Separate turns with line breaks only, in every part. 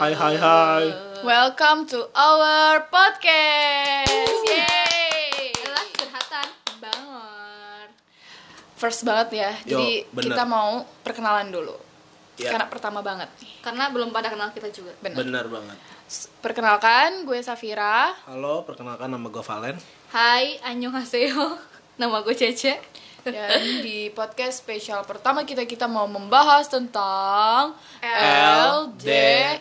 Hai hai hai.
Welcome to our podcast. Yeay.
adalah curhatan bangor
First banget ya.
Yo,
Jadi
bener.
kita mau perkenalan dulu.
Ya.
Karena pertama banget nih.
karena belum pada kenal kita juga
Benar.
Benar banget.
Perkenalkan gue Safira.
Halo, perkenalkan nama gue Valen.
Hai annyeonghaseyo nama gue Cece
Dan di podcast spesial pertama kita kita mau membahas tentang LDR.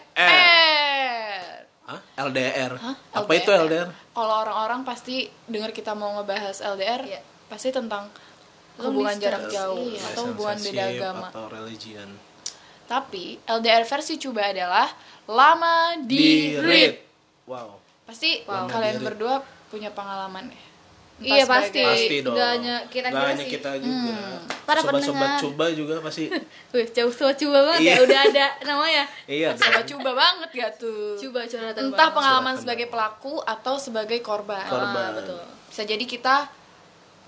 Hah? LDR.
Hah?
Apa itu LDR?
Kalau orang-orang pasti dengar kita mau ngebahas LDR,
Iya.
pasti tentang
Long
hubungan
distance,
jarak jauh
iya.
atau hubungan beda
Relationship
agama.
Atau religion.
Tapi LDR versi Cuba adalah lama di, read.
read. Wow.
Pasti
Wow.
kalian
Di read.
berdua punya pengalaman ya. Entah
Iya,
sebagai-
pasti.
Pasti dong.
nggak hanya kita
Nggak
juga
hanya
sih.
kita
Hmm.
juga.
Para
Sobat-sobat
pendengar.
coba juga pasti.
Wih, jauh sobat coba banget
Iya.
ya udah ada namanya
iya.
Sama
dong.
Cuba banget gak tuh.
coba curhatan
Entah
bangor.
pengalaman
Silakan.
sebagai pelaku atau sebagai korban.
Korban.
betul.
Bisa jadi kita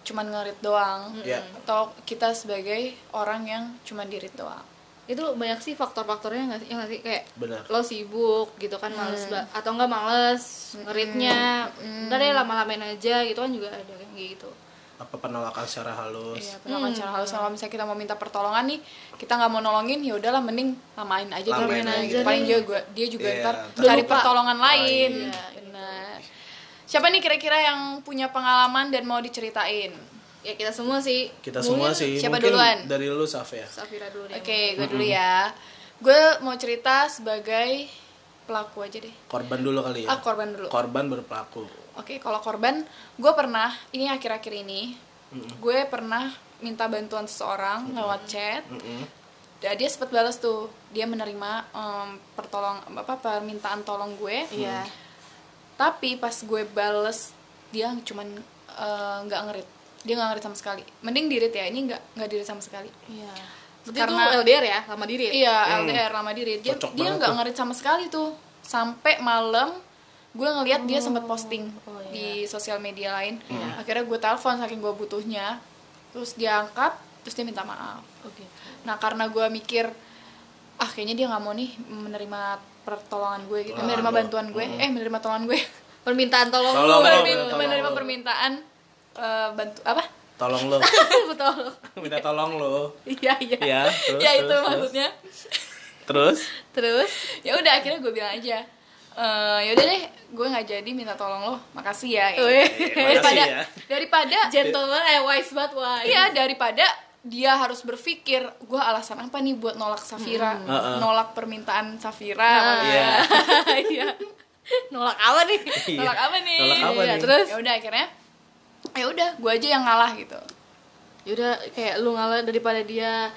cuman ngerit doang
Iya.
atau kita sebagai orang yang cuman dirit doang.
itu banyak sih faktor-faktornya nggak sih yang sih kayak
Benar.
lo sibuk gitu kan males ba- atau enggak males ngeritnya udah deh lama-lamain aja gitu kan juga ada kayak gitu
Apa penolakan secara halus.
Iya, penolakan secara halus kalau misalnya kita mau minta pertolongan nih, kita nggak mau nolongin, ya udahlah mending lamain aja
Lamain
dirinya
aja
gitu.
deh.
Paling dia gua- dia juga
Iya,
ntar
ntar
cari
lupa. Nah,
pertolongan lain.
Lain.
Iya, Benar. Siapa nih kira-kira yang punya pengalaman dan mau diceritain?
ya kita semua sih
Kita semua
Mungkin
sih.
siapa
Mungkin
duluan?
Dari lu, Saf ya.
Safira dulu deh
Oke, gue dulu ya. Gue mau cerita sebagai pelaku aja deh.
Korban dulu kali ya.
Ah, korban dulu.
Korban berpelaku.
Oke, kalau korban, gue pernah, ini akhir-akhir ini, gue pernah minta bantuan seseorang lewat chat.
Mm-mm.
Dan dia sempat balas tuh, dia menerima em, pertolong apa permintaan tolong gue.
Iya.
Tapi pas gue bales, dia cuman eh, nggak ngerit, dia nggak ngerit sama sekali. Mending dirit ya, ini nggak nggak dirit sama sekali.
Iya. Berarti
Karena-
itu LDR ya, lama diri. ya?
Iya, LDR lama diri. Dia
Cocok
dia
banget
nggak
tuh.
ngerit sama sekali tuh. Sampai malam gue ngeliat dia sempat posting
oh iya.
di sosial media lain.
Hmm.
Akhirnya gue telepon saking gue butuhnya. Terus dia angkat, terus dia minta maaf.
Oke.
Nah, karena gue mikir ah kayaknya dia nggak mau nih menerima pertolongan gue gitu,
Ah,
menerima
doa.
bantuan gue, eh menerima tolongan gue.
Permintaan
Oh,
tolong.
Tolong,
lu.
tolong,
Menerima-
tolong.
menerima permintaan eh, bantu apa?
Tolong lu.
Betul.
Minta tolong lu.
Iya, iya.
Ya, terus,
ya itu
terus, terus.
maksudnya.
Terus?
Terus
ya udah akhirnya gue bilang aja "Eh, yaudah deh gue nggak jadi minta tolong lo makasih ya
Weh.
daripada
ya.
daripada
gentleman eh wise banget wise.
iya daripada dia harus berpikir gue alasan apa nih buat nolak Safira
Hmm. Heeh.
nolak permintaan Safira
Ah,
Iya.
Iya. Nolak apa nih?
Iya.
nolak apa nih
Nolak apa
Iya,
nih?
terus ya udah akhirnya ya udah gue aja yang ngalah gitu
Yaudah kayak lu ngalah daripada dia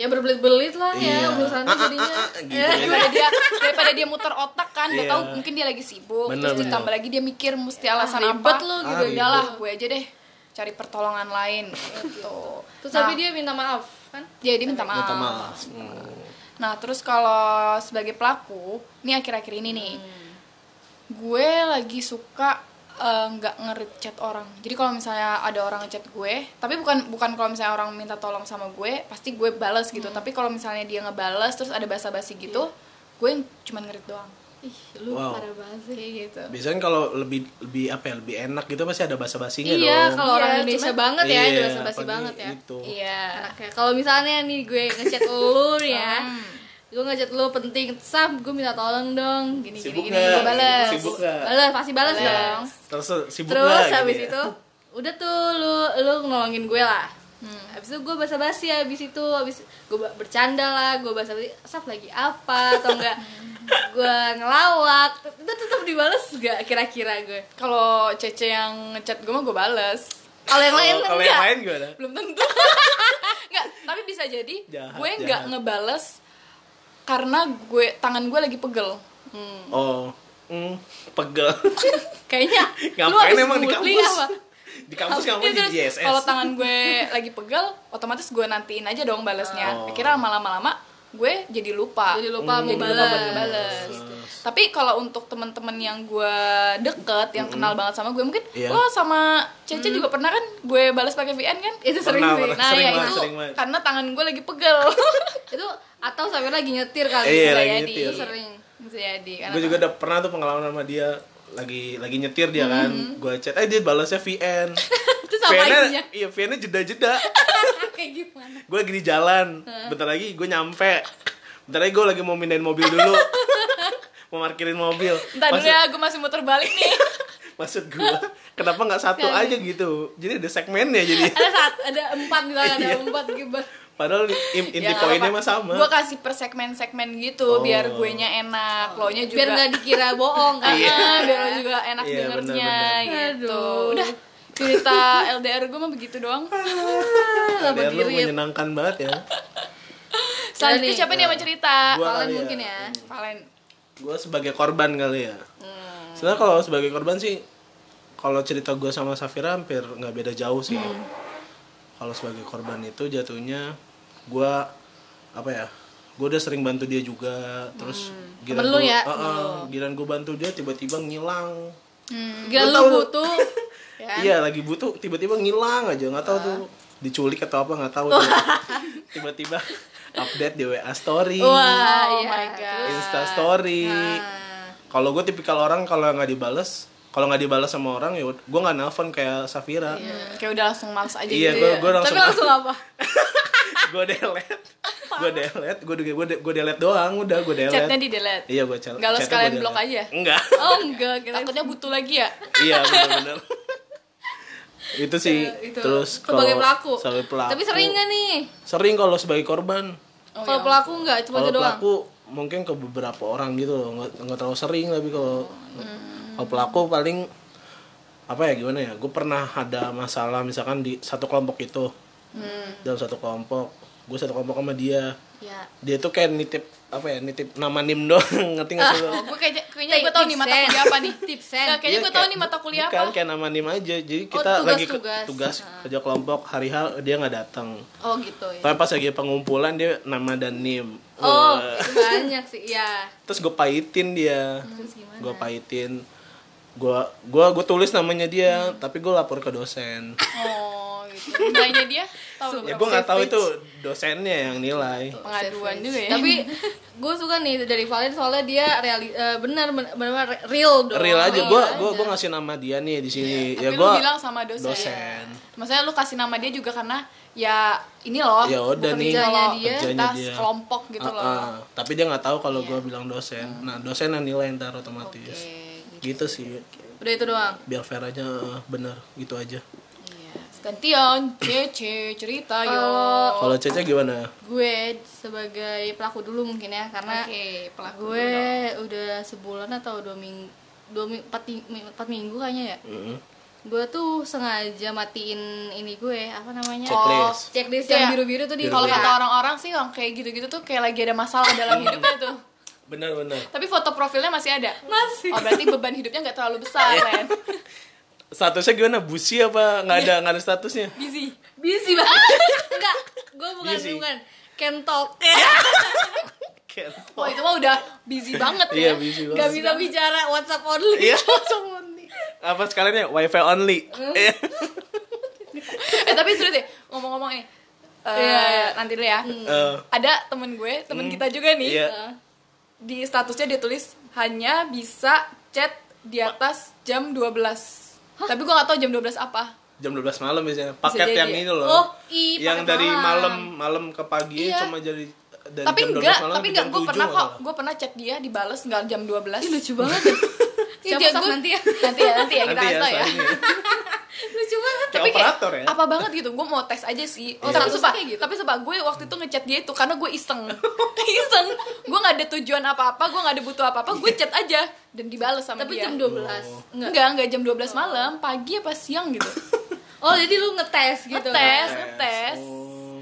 ya berbelit-belit lah
Iya.
ya urusannya
Ah, ah,
jadinya.
ah, ah, gitu.
Eh,
daripada dia daripada dia muter otak kan udah
Iya.
tahu mungkin dia lagi sibuk
Bener,
terus
bener.
ditambah lagi dia mikir mesti alasan
Ah,
apa
ribet lu
gitu. Ah,
udah lah gue aja deh cari pertolongan lain gitu
Terus
Nah,
tapi dia minta maaf kan?
jadi minta maaf.
Minta maaf. Hmm.
nah terus kalau sebagai pelaku ini akhir-akhir ini nih gue lagi suka eh, nggak ngerit chat orang jadi kalau misalnya ada orang ngechat gue tapi bukan bukan kalau misalnya orang minta tolong sama gue pasti gue balas gitu tapi kalau misalnya dia ngebales terus ada basa-basi gitu gue cuman ngerit doang
Ih, lu
Wow.
parah banget sih.
kayak gitu
Biasanya kalau lebih lebih apa ya, lebih enak gitu pasti ada basa-basinya
Iya,
dong.
kalau orang
Iya,
Indonesia
cuman-
banget ya,
Iya,
Indonesia basi
apalagi gitu.
banget ya.
Itu.
iya
Oke, kalau misalnya nih gue ngechat lu nih ya.
Hmm.
gue ngechat lu penting, Sam, gue minta tolong dong, gini
Sibuk
gini gini.
nggak?
Gua Balas.
Sibuk nggak?
Balas, pasti balas dong.
Terus sibuk
Terus
lah,
habis
gitu ya.
itu udah tuh lu lu nolongin gue lah.
Hmm.
Habis itu gue basa-basi habis itu habis gue ba- bercanda lah, gue basa-basi, Sam lagi apa atau enggak gue ngelawak itu tetap dibales gak kira-kira gue
kalau Cece yang ngechat gue mah gue bales
kalau yang lain
Oh,
kan
Kalau yang
enggak
lain gimana?
belum tentu nggak tapi bisa jadi
Jahat,
gue nggak
jahat.
ngebales karena gue tangan gue lagi pegel Hmm.
Hmm.
Oh, mm, pegel.
kayaknya lu
Ngapain
habis
emang di
bully
kampus?
apa?
di kampus kamu
Iya,
jadi
terus
JSS.
kalau tangan gue lagi pegel otomatis gue nantiin aja dong balesnya
Oh.
akhirnya lama-lama gue jadi lupa
jadi lupa
Hmm.
mau Gitu.
Jadi lupa buat
balas
ngebales. tapi kalau untuk temen-temen yang gue deket yang kenal banget sama gue mungkin
Iya.
lo sama Cece juga pernah kan gue balas pakai VN kan
itu sering
Pernah,
sih
pernah.
iya,
nah
Sering
ya
banget,
itu
sering banget.
karena tangan gue lagi pegel
itu atau sampai lagi nyetir kali
Iya,
bisa
lagi
jadi
nyetir.
itu sering
Bisa jadi. karena-
gue juga udah pernah tuh pengalaman sama dia lagi lagi nyetir dia kan
Mm-hmm.
gue chat eh dia balasnya VN
Terus apa
VN-nya
isinya?
iya VN-nya jeda-jeda
Ah, kayak gimana
gue lagi di jalan bentar lagi gue nyampe bentar lagi gue lagi mau mindahin mobil dulu mau parkirin mobil
Entar dulu
Maksud-
ya, gue masih muter balik nih.
maksud gue kenapa nggak satu aja gitu jadi ada segmennya jadi
ada saat ada empat gitu kan,
Iya.
ada empat gitu
padahal in- inti poinnya mah sama
Gue kasih per segmen-segmen gitu
Oh.
biar gue nya enak, lo nya juga.
biar nggak dikira bohong kan
Iya, biar lo juga enak
Iya,
dengernya
benar-benar.
gitu.
Aduh.
Udah cerita LDR gue mah begitu doang.
kan nggak
Biar lu
berdiri
menyenangkan banget ya
Selanjutnya
nih.
siapa nih yang mau cerita?
Gua
Valen
kali
mungkin ya
Valen.
gue sebagai korban kali ya
Hmm.
sebenarnya kalau sebagai korban sih kalau cerita gue sama Safira hampir nggak beda jauh sih
Hmm.
kalau sebagai korban itu jatuhnya gue apa ya gue udah sering bantu dia juga terus
Temen lu
gua-
ya,
Eh,
temen
eh, giliran gue bantu dia tiba-tiba ngilang
gila
Lu
lu
tahu lu-
butuh kan? Ah.
iya lagi butuh tiba-tiba ngilang aja nggak tahu tuh diculik atau apa nggak tahu dia. tiba-tiba update di WA story
wah
Oh
iya.
my God.
Insta story
Nah.
kalau gue tipikal orang kalau nggak dibales kalau nggak dibales sama orang ya gue nggak nelfon kayak Safira
Hmm, kayak udah langsung males aja
Iya,
gitu
gua-
ya.
gua
tapi
langsung-
langsung apa
gue delete gue delete gue gue gue delete doang udah gue delete
Chatnya di delete.
iya gue chat
Nggak lo
chatnya
sekalian
gua delete.
block aja?
enggak
oh enggak kira
Takutnya butuh lagi ya.
iya benar-benar itu sih
itu.
terus
sebagai
kalau-
pelaku.
sebagai pelaku
tapi sering nggak nih
sering kalau sebagai korban
Oh, ya
kalau pelaku nggak cuma itu
kalau
doang
pelaku mungkin ke beberapa orang gitu loh nggak nggak terlalu sering tapi kalau kalau pelaku paling apa ya gimana ya gue pernah ada masalah misalkan di satu kelompok itu dalam satu kelompok gue satu kelompok sama dia
ya
dia tuh kayak nitip apa ya nitip nama nim doang ngerti nggak sih lo?
Oh, gue kayaknya kayaknya gue tau nih mata kuliah apa nih.
tipsen
Nggak, kayaknya
Iya,
gue tau
kayak-
nih mata kuliah
bukan,
apa.
kayak nama nim aja jadi kita
tugas-tugas.
lagi ke- tugas kerja kelompok hari hal dia nggak datang
oh gitu ya
tapi pas lagi pengumpulan dia nama dan nim
oh
Wah.
itu banyak sih ya
terus gue pahitin dia
terus gimana
gue pahitin gue gua gue tulis namanya dia tapi gue lapor ke dosen
Oh gitu. Nilainya dia tahu
ya
berapa?
gue nggak tahu itu dosennya yang nilai
pengaduan juga ya.
tapi gue suka nih dari Valen soalnya dia reali eh, benar benar benar real dong
real aja gue gua gua ngasih nama dia nih di sini
Iya, tapi
ya
lu
gue
bilang sama dosen.
dosen.
Maksudnya lu kasih nama dia juga karena ya ini loh.
Ya udah nih,
Kerjanya dia,
kerjanya
tas
dia. Ah,
kelompok gitu loh. Iya. Hmm.
tapi dia nggak tahu kalau gue bilang dosen nah dosen yang nilai ntar otomatis gitu sih
udah itu doang
biar fair aja eh, bener gitu aja
Iya. Gantian Cece cerita yo.
Oh,
Oh.
kalau Cece gimana
gue sebagai pelaku dulu mungkin ya karena
Oke, pelaku
gue udah sebulan atau dua minggu dua minggu empat, ting- mi- empat minggu kayaknya ya
Mm.
gue tuh sengaja matiin ini gue apa namanya
Checklist.
Oh, checklist
Iya.
yang biru biru tuh di
Kalau
WA.
kata orang-orang sih yang kayak gitu-gitu tuh kayak lagi ada masalah dalam hidupnya tuh.
bener bener
Tapi foto profilnya masih ada.
Masih.
Oh berarti beban hidupnya nggak terlalu besar,
Iya.
Len.
statusnya gimana busi apa nggak ada nggak ada statusnya
Busy.
busy banget enggak gue bukan
Busy.
bukan kentok
Wah Oh, itu mah udah busy banget ya.
iya busi
Gak
banget
bisa bicara WhatsApp only.
iya apa sekalian ya wifi only
Hmm.
Iya.
eh tapi serius deh ngomong-ngomong nih Eh,
Iya.
nanti dulu ya
Eh,
ada temen gue temen kita juga nih
Iya.
di statusnya dia tulis hanya bisa chat di atas jam 12 tapi gue gak tahu jam 12 apa
jam 12 malam biasanya paket
jadi
yang
ya.
ini loh
Oh, i,
yang
paket
dari malam
malam.
malam ke pagi
Iya.
cuma jadi dari
tapi
jam 12
enggak
malam
tapi
ke
enggak
jam
gue
7
pernah kok
malah.
gue pernah chat dia dibales nggak jam 12
Ih, lucu banget. ya.
Iya,
Siapa
dia
sah
gua-
nanti ya?
nanti ya nanti ya kita
nanti
kasih
ya,
tau ya
soalnya ini.
Lucu banget.
Kayak
tapi kayak
operator ya.
apa banget gitu gue mau tes aja sih
Oh,
tapi
statusnya
sumpah
kayak gitu.
tapi sumpah gue waktu itu ngechat dia itu karena gue iseng iseng gue nggak ada tujuan apa apa gue nggak ada butuh apa apa gue chat aja dan dibales sama
Tapi
dia
jam 12.
enggak enggak jam 12 malam pagi apa siang gitu
Oh, jadi lu ngetes gitu.
Ngetes.
Tes.
ngetes.
Oh.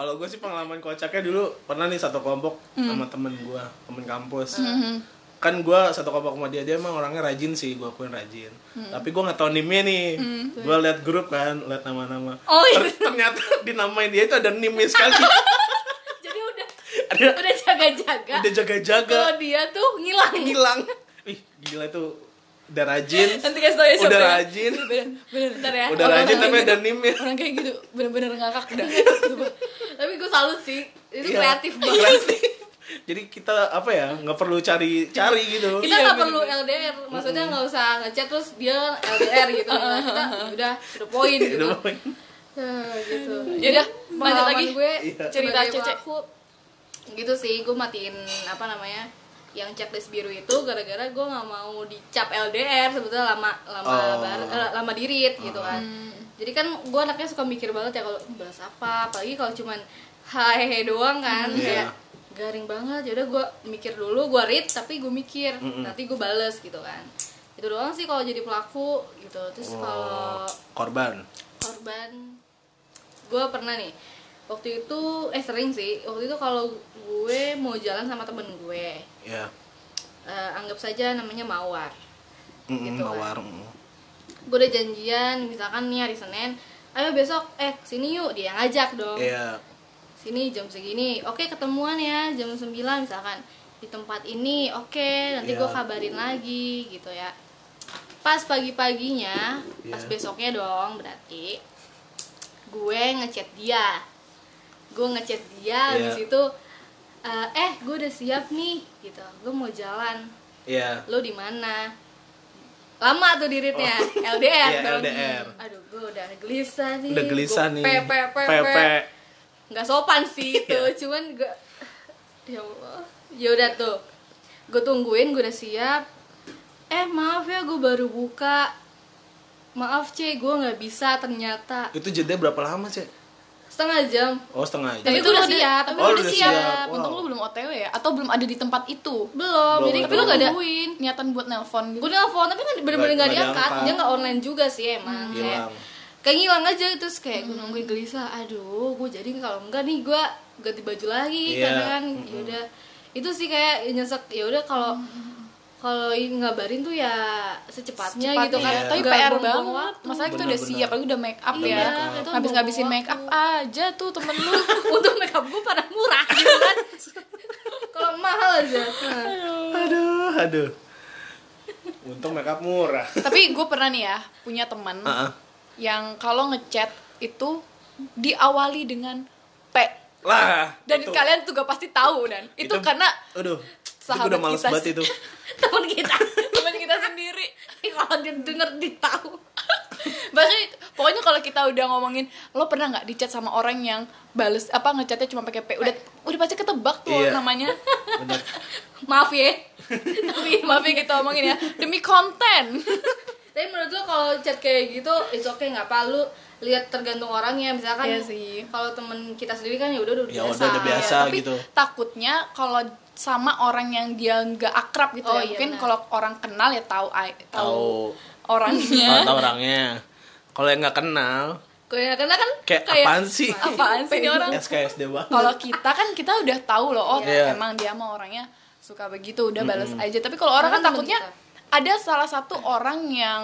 kalau gue sih pengalaman kocaknya dulu pernah nih satu kelompok sama temen gue temen kampus kan gue satu kelompok sama dia dia emang orangnya rajin sih gue akuin rajin tapi gue nggak tahu nimnya nih gue liat grup kan liat nama-nama
Oh, iya.
Ter- ternyata dinamain dia itu ada nimnya sekali
Jadi udah
ada
udah jaga-jaga.
udah jaga-jaga
Kalau dia tuh ngilang.
hilang ih gila tuh udah rajin
nanti kasih tau ya siapa
udah
ya.
rajin
bener bener
Bentar ya.
udah
Orang
rajin
kayak
tapi
gitu.
ada nimnya
orang kayak gitu bener-bener ngakak udah
Iya.
Tapi gue salut sih. Itu kreatif banget.
kreatif jadi kita apa ya nggak perlu cari cari gitu
kita nggak perlu LDR maksudnya nggak usah ngechat terus dia LDR gitu Nah, kita udah udah poin gitu
Udah, poin.
Eh, gitu
Yaudah, lanjut
pengalaman
lagi.
gue
Iya.
Cerita
sebagai
Cece.
pelaku, gitu sih gue matiin apa namanya yang checklist biru itu gara-gara gue nggak mau dicap LDR sebetulnya lama lama
Oh.
bar- eh, lama dirit gitu kan
Hmm.
jadi kan gue anaknya suka mikir banget ya kalau "Hmm, balas apa apalagi kalau cuman hai hai doang kan
Iya.
kayak garing banget yaudah gue mikir dulu gue read tapi gue mikir
Hmm.
nanti gue bales gitu kan itu doang sih kalau jadi pelaku gitu terus
Oh,
kalau
korban
korban gue pernah nih waktu itu eh sering sih waktu itu kalau gue mau jalan sama temen gue
ya
eh, anggap saja namanya mawar
Mm-mm,
Gitu lah.
mawar mm.
gue udah janjian misalkan nih hari senin ayo besok eh sini yuk dia yang ngajak dong
Iya.
sini jam segini oke ketemuan ya jam 9 misalkan di tempat ini oke nanti
Iya.
gue kabarin lagi gitu ya pas pagi-paginya pas
Iya.
besoknya dong berarti gue ngechat dia gue ngechat dia
Iya.
habis itu eh, eh gue udah siap nih gitu gue mau jalan
Iya.
lo di mana lama tuh diritnya LDR
Iya,
dong
LDR.
aduh gue udah gelisah nih
udah gelisah
Gua
nih
pe, pe, pe,
Pepe.
pe nggak sopan sih itu
Iya.
cuman gue ya Allah ya udah tuh gue tungguin gue udah siap eh maaf ya gue baru buka maaf c gue nggak bisa ternyata
itu jeda berapa lama sih
setengah jam
oh setengah
Tapi
Tapi
jam
itu
lu
udah
ada-
siap.
tapi
Oh,
lu
udah
udah siap.
siap. Wow.
Untung lu belum OTW ya atau belum ada di tempat itu.
belum
Belum,
jadi
belum.
Tapi lu gak ada
nungguin
niatan buat nelpon gitu.
gue nelfon tapi kan
Nggak-
bener-bener nggak
nggak
diangkat
diangkat.
dia nggak online juga sih emang kayak
hilang
kayak ngilang aja gitu, terus kayak gue nungguin gelisah aduh gue jadi kalau enggak nih gue ganti baju lagi
Iya.
karena kan yaudah itu sih kayak ya nyesek yaudah kalau kalau ini ngabarin tuh ya
Cepatnya.
secepatnya,
ya.
gitu kan
Iya.
Tapi
Nggak
PR
buang-buang
banget.
waktu.
Masalahnya kita udah
Benar-benar.
siap, lagi udah make up
Iya,
ya.
itu
Habis ngabisin
buang
make up
waktu.
aja tuh temen lu.
untung makeup gue pada murah gitu kan kalau mahal aja
aduh aduh untung makeup murah
Tapi gue pernah nih ya punya teman
Ah, ah.
yang kalau ngechat itu diawali dengan P.
lah
Dan
itu-
kalian juga pasti tahu dan itu, karena
aduh
sahabat
itu gue udah males
kita
banget
sih.
itu
temen kita
teman kita sendiri.
Ini kalau dia denger dia tahu
Bahkan pokoknya kalau kita udah ngomongin lo pernah nggak dicat sama orang yang bales apa ngechatnya cuma pakai P udah udah pasti ketebak tuh
Iya.
namanya.
bener
maaf ya tapi
Maaf ya kita omongin ya demi konten.
Tapi menurut lu kalau chat kayak gitu it's okay nggak apa lu lihat tergantung orangnya misalkan
Iya sih.
kalau temen kita sendiri kan ya udah udah
Ya udah, udah biasa.
Iya, Tapi
gitu.
takutnya kalau sama orang yang dia nggak akrab gitu ya.
Oh, iya,
Mungkin
benar.
kalau orang kenal ya tahu ai- tahu
tahu
orangnya.
Kalau tahu orangnya kalau yang nggak kenal
Kayak karena kan
kayak, apaan sih
Apaan sih ini orang?
SKSD banget
kalau kita kan kita udah tahu loh oh
Iya.
emang dia mah orangnya suka begitu udah balas aja tapi kalau orang kan
Karena temen
takutnya
kita.
ada salah satu orang yang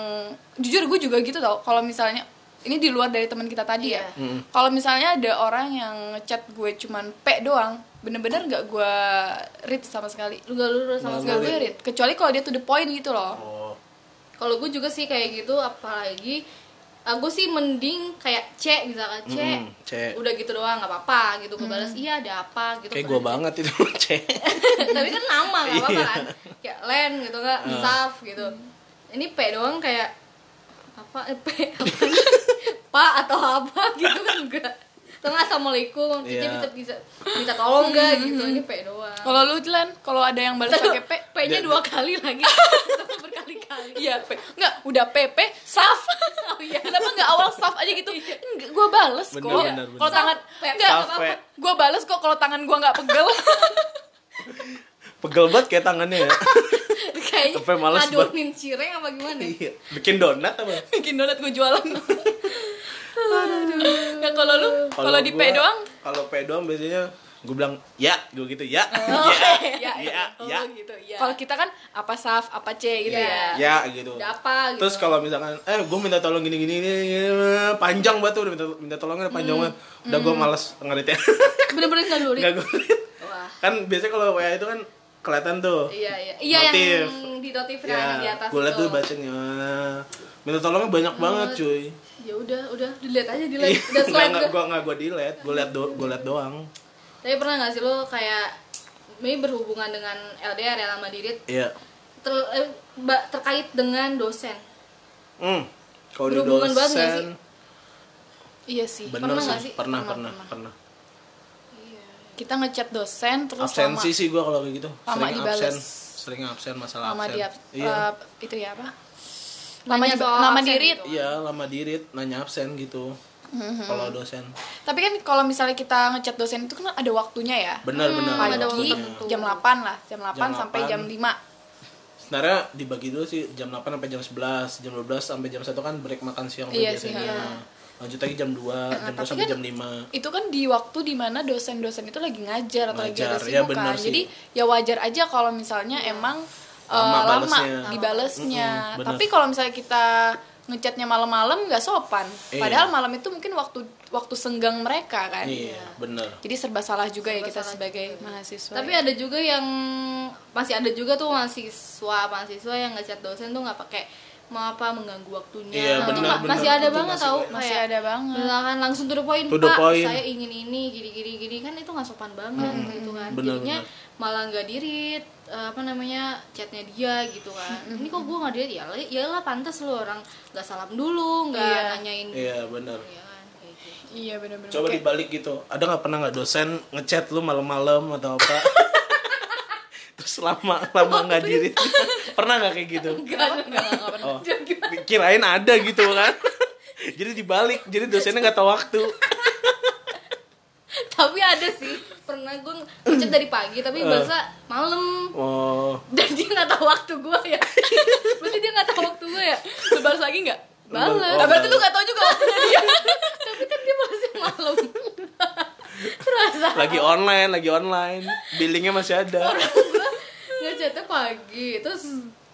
jujur gue juga gitu tau kalau misalnya ini di luar dari teman kita tadi
Iya.
ya kalau misalnya ada orang yang ngechat gue cuman p doang bener-bener gak gue read sama sekali
lu gak lurus sama
Nggak
gak
sekali.
gue read kecuali kalau dia to the point gitu loh
oh
Kalau gue juga sih kayak gitu apalagi aku sih mending kayak C misalkan C.
Mm-mm, C. Mm.
Udah gitu doang nggak apa-apa gitu gue balas iya ada apa gitu.
kayak Iya. gue banget itu cek
Tapi kan nama nggak apa-apa kan. Kayak Len gitu nggak,
Ah.
Saf gitu. Ini P doang kayak apa eh, P apa Pak atau apa gitu kan enggak. Atau nggak assalamualaikum, Cici
Iya.
bisa, bisa minta tolong nggak gitu. Ini P doang.
kalau lu Jelan kalau ada yang balas pakai p
P-nya
Jadi-
dua kali lagi. Berkali-kali.
Iya, P. Enggak, udah PP, saf. Oh iya. Kenapa enggak awal saf aja gitu? Enggak, gua bales kok.
Bener, bener, bener.
Kalau tangan
Saf, P,
enggak
saf, P.
Gua bales kok kalau tangan gua enggak pegel.
pegel banget kayak tangannya ya
kayaknya
Apa yang males
ngadonin cireng apa gimana ya?
Iya. bikin donat apa
Bikin donat gua jualan. Enggak kalau lu kalau di P
gua-
doang
kalau P doang biasanya gue bilang ya gue gitu ya ya ya ya
Oh, gitu ya
kalau kita kan apa saf, apa C gitu ya.
Iya.
ya gitu
udah apa gitu
terus kalau misalkan eh gue minta tolong gini gini, gini, gini, panjang banget tuh udah minta minta tolongnya panjang banget udah gue malas ngeritnya
bener-bener nggak lurik
ya. nggak gue read.
wah
kan biasanya kalau wa itu kan kelihatan tuh
iya iya iya
Notif.
yang di notif
ya
yang di atas Oh,
gue liat tuh
itu.
bacanya Wah, minta tolongnya banyak banget cuy
ya udah udah dilihat aja dilihat udah
Iya, nggak
slide
nggak
udah.
gue nggak gue delete gue liat do gue liat doang
tapi pernah nggak sih lo kayak ini berhubungan dengan LDR ya lama diri
Iya.
ter- eh, ba- terkait dengan dosen
Hmm. Kalau di
Berhubungan banget nggak sih?
dosen,
Iya sih.
bener
Pernah nggak
sih.
sih?
Pernah,
Pernah,
pernah, pernah.
Kita ngechat dosen terus
Absensi
lama,
sih gua kalau kayak gitu.
Lama
Sering
dibales.
absen, sering absen masalah
lama
absen.
dia
iya.
uh,
eh, itu ya apa? Lama
Nanya
di-
soal
lama
absen
diri.
gitu.
Iya, lama dirit nanya absen gitu.
Mm-hmm.
Kalau dosen.
Tapi kan kalau misalnya kita ngechat dosen itu kan ada waktunya ya.
Benar, benar.
Pagi
Hmm, ada
waktunya.
waktu.
jam 8 lah, jam 8
Jam
sampai
8.
jam 5.
Sebenarnya dibagi dulu sih jam 8 sampai jam 11, jam 12 sampai jam 1 kan break makan siang tuh
Iya sih,
biasanya.
iya.
Lanjut lagi jam 2, jam 2 sampai
kan
jam 5.
Itu kan di waktu dimana dosen-dosen itu lagi ngajar atau lagi ada
Ngajar, ya
sibuk
benar
kan.
sih.
Jadi ya wajar aja kalau misalnya emang eh,
Lama
lama,
balesnya.
dibalesnya.
Mm-mm, benar.
Tapi kalau misalnya kita ngechatnya malam-malam nggak sopan.
Iya.
Padahal malam itu mungkin waktu waktu senggang mereka kan.
Iya, bener.
Jadi serba salah juga ya
Serba
kita
salah
sebagai mahasiswa.
gitu. tapi
ya.
ada juga yang masih ada juga tuh mahasiswa mahasiswa yang ngechat dosen tuh nggak pakai mau apa mengganggu waktunya
Iya,
Itu
benar,
ma-
benar.
masih ada ya?
Itu
banget
masih
tau
ada.
masih
kayak-
ada banget.
misalkan kan, langsung to the point
To the
pak
point. Hmm.
saya ingin ini gini gini gini kan itu nggak sopan banget gitu kan
Benar,
jadinya
benar.
malah nggak dirit eh, apa namanya chatnya dia gitu kan
Hmm.
ini kok gue nggak dirit ya lah pantas lu orang nggak salam dulu nggak
Iya.
nanyain
Iya, bener.
ya kan kayak gitu.
Iya benar-benar.
Coba
Kayak-
dibalik gitu. Ada nggak pernah nggak dosen ngechat lu malam-malam atau apa? Terus lama lama nggak diri. pernah nggak kayak gitu?
Enggak, enggak, enggak pernah.
Oh, kirain ada gitu kan? jadi dibalik, jadi dosennya nggak tahu waktu.
tapi ada sih pernah gue ngechat dari pagi tapi
Eh.
bahasa malam
Oh,
dan dia nggak tahu waktu gue ya berarti dia nggak tahu waktu gue ya Lu balas lagi nggak balas
Balas.
Nah, berarti lu nggak tahu juga waktunya dia tapi kan dia balasnya malam terasa
lagi online, lagi online. Billingnya masih ada.
gue ngechatnya pagi terus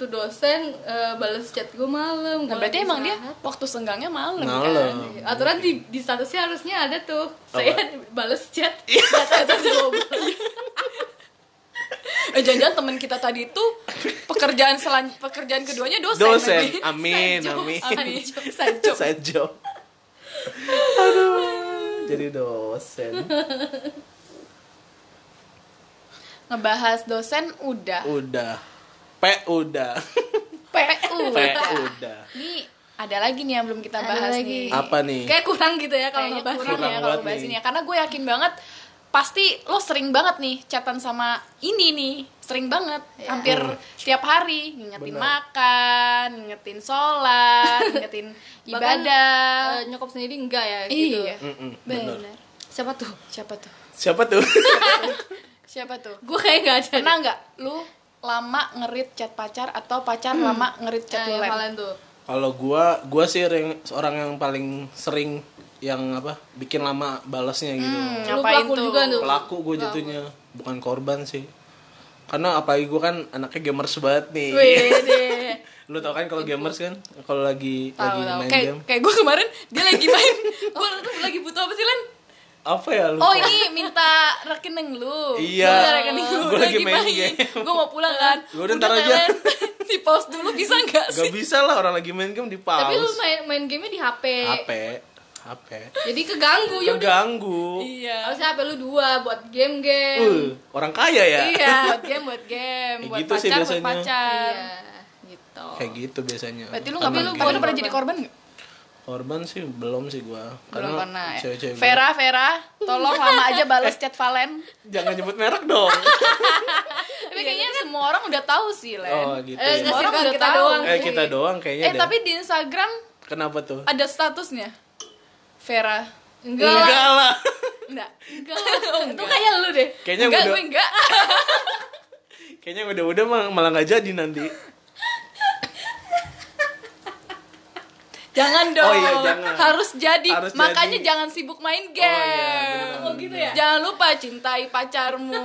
tuh dosen eh, balas chat gue malam
Nah,
Gua
berarti
lagi
emang dia
istirahat. Iya,
waktu senggangnya malam. kan?
Malam.
aturan di, di statusnya harusnya ada tuh
Oh, Apa? Iya.
saya balas chat nggak tahu jam 12.
Eh jangan-jangan teman kita tadi itu pekerjaan selan pekerjaan keduanya dosen. Iya,
Dosen.
lagi.
Amin,
Sanjo,
amin.
Sanjo, Sanjo.
Sajo. Aduh, jadi dosen.
Ngebahas dosen udah.
Udah. P udah.
PU.
P udah.
Ini ada lagi nih yang belum kita
Ada
bahas nih.
lagi.
Apa nih?
kayak kurang gitu ya kalau
Kayaknya
ngebahas
kurang
Kurang
ya kalau
banget
bahas
nih.
ini ya. Karena gue yakin banget pasti lo sering banget nih chatan sama ini nih sering banget
Iya.
hampir tiap hari ngingetin
Hmm. Benar.
makan ngingetin sholat ngingetin
Bahkan,
ibadah
eh, nyokap sendiri enggak ya gitu
iya
Mm-mm, bener.
benar
siapa tuh
siapa tuh
Siapa tuh?
siapa tuh
gue kayak nggak ada
pernah nggak lu lama ngerit chat pacar atau pacar lama ngerit chat lu
Hmm. Nah, yang
lem?
kalian tuh
Kalau gua, gua sih orang, orang yang paling sering yang apa bikin lama balasnya gitu.
Hmm,
Lu
ngapain
pelaku
tuh
juga tuh.
Pelaku gue jatuhnya, bukan korban sih. Karena apalagi gue kan anaknya gamers banget nih.
Wede.
Lu tau kan kalau gamers kan kalau lagi
tahu
lagi
tahu
main
kayak
game
kayak gue kemarin dia lagi main
Gue lagi butuh apa sih Len?
apa ya lu?
oh ini minta rekening lu
Iya.
Gua minta rekening lu
Gua lagi main game.
gue mau pulang kan
Gua udah ntar aja.
di pause dulu bisa nggak sih
Gak bisa lah orang lagi main game di pause.
Tapi lu main main gamenya di HP.
HP, HP.
Jadi keganggu ya.
Keganggu.
iya
Harusnya HP lu dua buat game-game.
Uh, orang kaya ya.
Iya.
buat game buat game
Kayak
Iya. buat
gitu sih
pacar buat
biasanya.
pacar
Iya, gitu.
Kayak gitu biasanya.
berarti lu nggak pernah
Karena
Tapi lu-
tapi
game.
lu
game.
pernah jadi korban nggak
korban sih belum sih gua.
belum
Karena
pernah ya
Cewek-cewek gua-
Vera Vera tolong lama aja balas chat Valen
Jangan nyebut merek dong.
tapi kayaknya kan semua orang udah tahu sih Len
Oh, gitu
Eh,
ya.
nggak sih,
Orang
kan
udah
kita
tahu.
doang.
Eh kita doang kayaknya
Eh
deh.
tapi di Instagram
Kenapa tuh?
ada statusnya Vera
Enggak lah.
lah.
Enggak
Enggak lah. Itu kan kayak lu deh.
Iya. Kayaknya
Enggak
udah
gue enggak Ah,
kayaknya udah-udah mah- malah nggak jadi nanti.
Jangan dong
Oh iya, jangan.
Harus jadi
Harus
Makanya
jadi. Oh, iya,
jangan sibuk main game
benar.
Oh gitu ya.
Jangan lupa cintai pacarmu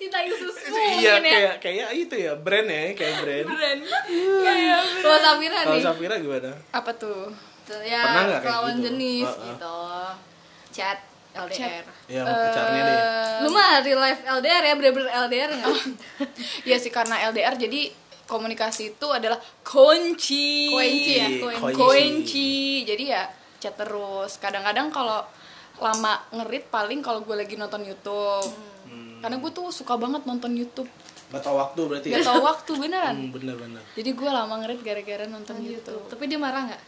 Cintai ususmu
iya
mungkin ya.
kayak kayak itu ya brand ya kayak brand.
Keren
iya, Kalau Safira
Kalau
nih.
Safira gimana?
Apa tuh?
Ya,
Pernah nggak kayak
lawan
gitu?
jenis
Heeh.
gitu. Chat LDR.
Ya mau pecarnya deh.
Lu mah real life LDR ya, bener-bener LDR enggak?
Ya sih karena LDR jadi komunikasi itu adalah kunci
Kunci ya,
Oh,
kunci.
iya
kunci jadi ya chat terus kadang-kadang kalau lama ngerit paling kalau gue lagi nonton YouTube
Hmm.
karena gue tuh suka banget nonton YouTube
Gak tau waktu berarti ya?
gak tau waktu beneran
Hmm, bener-bener.
jadi gue lama ngerit gara-gara nonton YouTube.
Tapi dia marah nggak?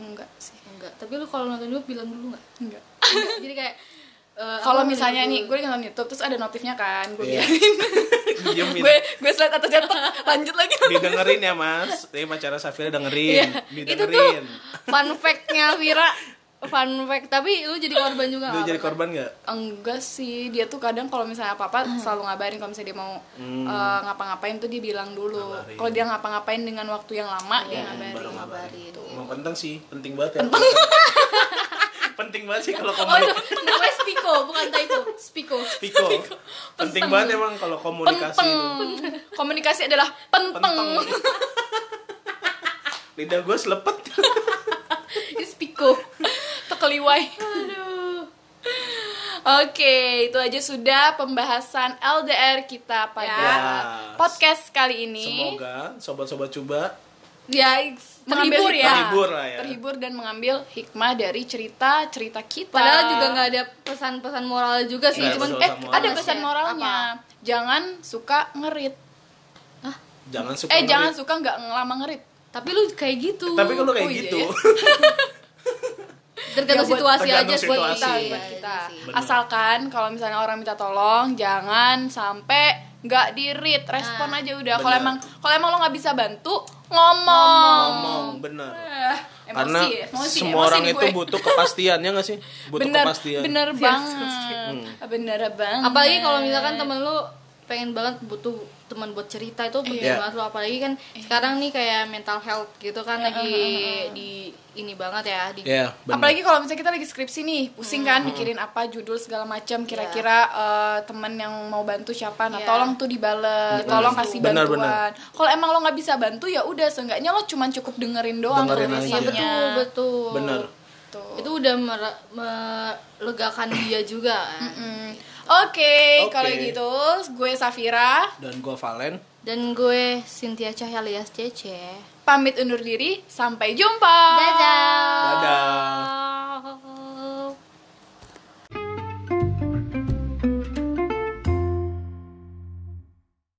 enggak sih
Enggak. Tapi lu kalau nonton YouTube bilang dulu nggak?
enggak
Enggak. Jadi kayak eh,
kalau
apa,
misalnya nih
menurut
gue nonton YouTube terus ada notifnya kan gue
Iya.
biarin
Diemin.
gue gue slide atau jatuh lanjut lagi
Didengerin ya mas, ini pacara Safira dengerin,
Iya. Itu tuh
didengerin.
fun fact-nya Vira. Fun fact. Tapi lu jadi korban juga
Lu
nggak?
jadi korban gak?
enggak sih dia tuh kadang kalau misalnya apa apa
Hmm.
selalu ngabarin kalau misalnya dia mau eh, ngapa-ngapain tuh dia bilang dulu
Hmm. Ngabarin. Iya,
kalau dia ngapa-ngapain dengan waktu yang lama dia ngabarin
baru ngabarin.
ngabarin.
Emang penting sih, penting banget ya. penting banget sih kalau
Oh, itu
komunikasi.
namanya Spiko, bukan Typo. Spiko.
Piko. Penting banget emang kalau komunikasi
Penting.
itu.
komunikasi adalah
Penteng.
penting
Lidah gue selepet.
Itu Spiko.
tekeliwai
Aduh.
Oke, itu aja sudah pembahasan LDR kita pada
Ya.
podcast kali ini.
Semoga sobat-sobat coba
Ya,
Mengambil
terhibur ya.
hikmah.
Terhibur lah ya.
Terhibur dan mengambil hikmah dari cerita-cerita kita.
Padahal juga nggak ada pesan-pesan moral juga sih,
Nggak ada
cuman
pesan
eh
moral.
ada
Moralnya.
pesan moralnya. Jangan suka ngerit.
jangan suka
eh, jangan
ngerit. Iya,
suka nggak ngelama ngerit.
Tapi lu kayak gitu.
Tapi kalau kayak
Oh, iya
gitu,
ya.
tergantung
Ya, buat-
situasi aja
tergantung
sih.
situasi.
Kita,
Iya,
buat kita.
Bener.
Asalkan kalau misalnya orang minta tolong, jangan sampai nggak di-read, respon
Nah,
aja udah. Kalau
bener.
emang kalau emang lo nggak bisa bantu, ngomong.
ngomong bener.
Eh, emosi
Karena
ya, emosi,
semua
emosi
orang
nih
itu
gue.
butuh kepastian ya nggak sih? Butuh
bener,
kepastian. Hmm.
Bener banget. Bener banget.
Apalagi kalau
Iya.
misalkan temen lu pengen banget butuh teman buat cerita itu penting
Iya.
banget lu apalagi kan sekarang nih kayak mental health gitu kan lagi di ini banget ya di
Ya, bener. Hmm.
Apalagi kalau misalnya kita lagi skripsi nih, pusing kan mikirin apa judul segala macam, kira-kira eh, temen yang mau bantu siapa. Nah,
Iya.
tolong tuh dibales,
Hmm.
tolong kasih
Benar,
bantuan. Kalau emang lo nggak bisa bantu ya udah, seenggaknya lo cuman cukup dengerin doang
Dengerin
kalau
aja.
misalnya.
Iya, betul betul
bener.
Tuh.
itu udah mere- melegakan dia juga kan.
Mm. Oke,
Oke.
kalau gitu gue Safira
Dan gue Valen.
dan gue Cynthia Cahya alias Cece
pamit undur diri, sampai jumpa.
dadah
Dadah.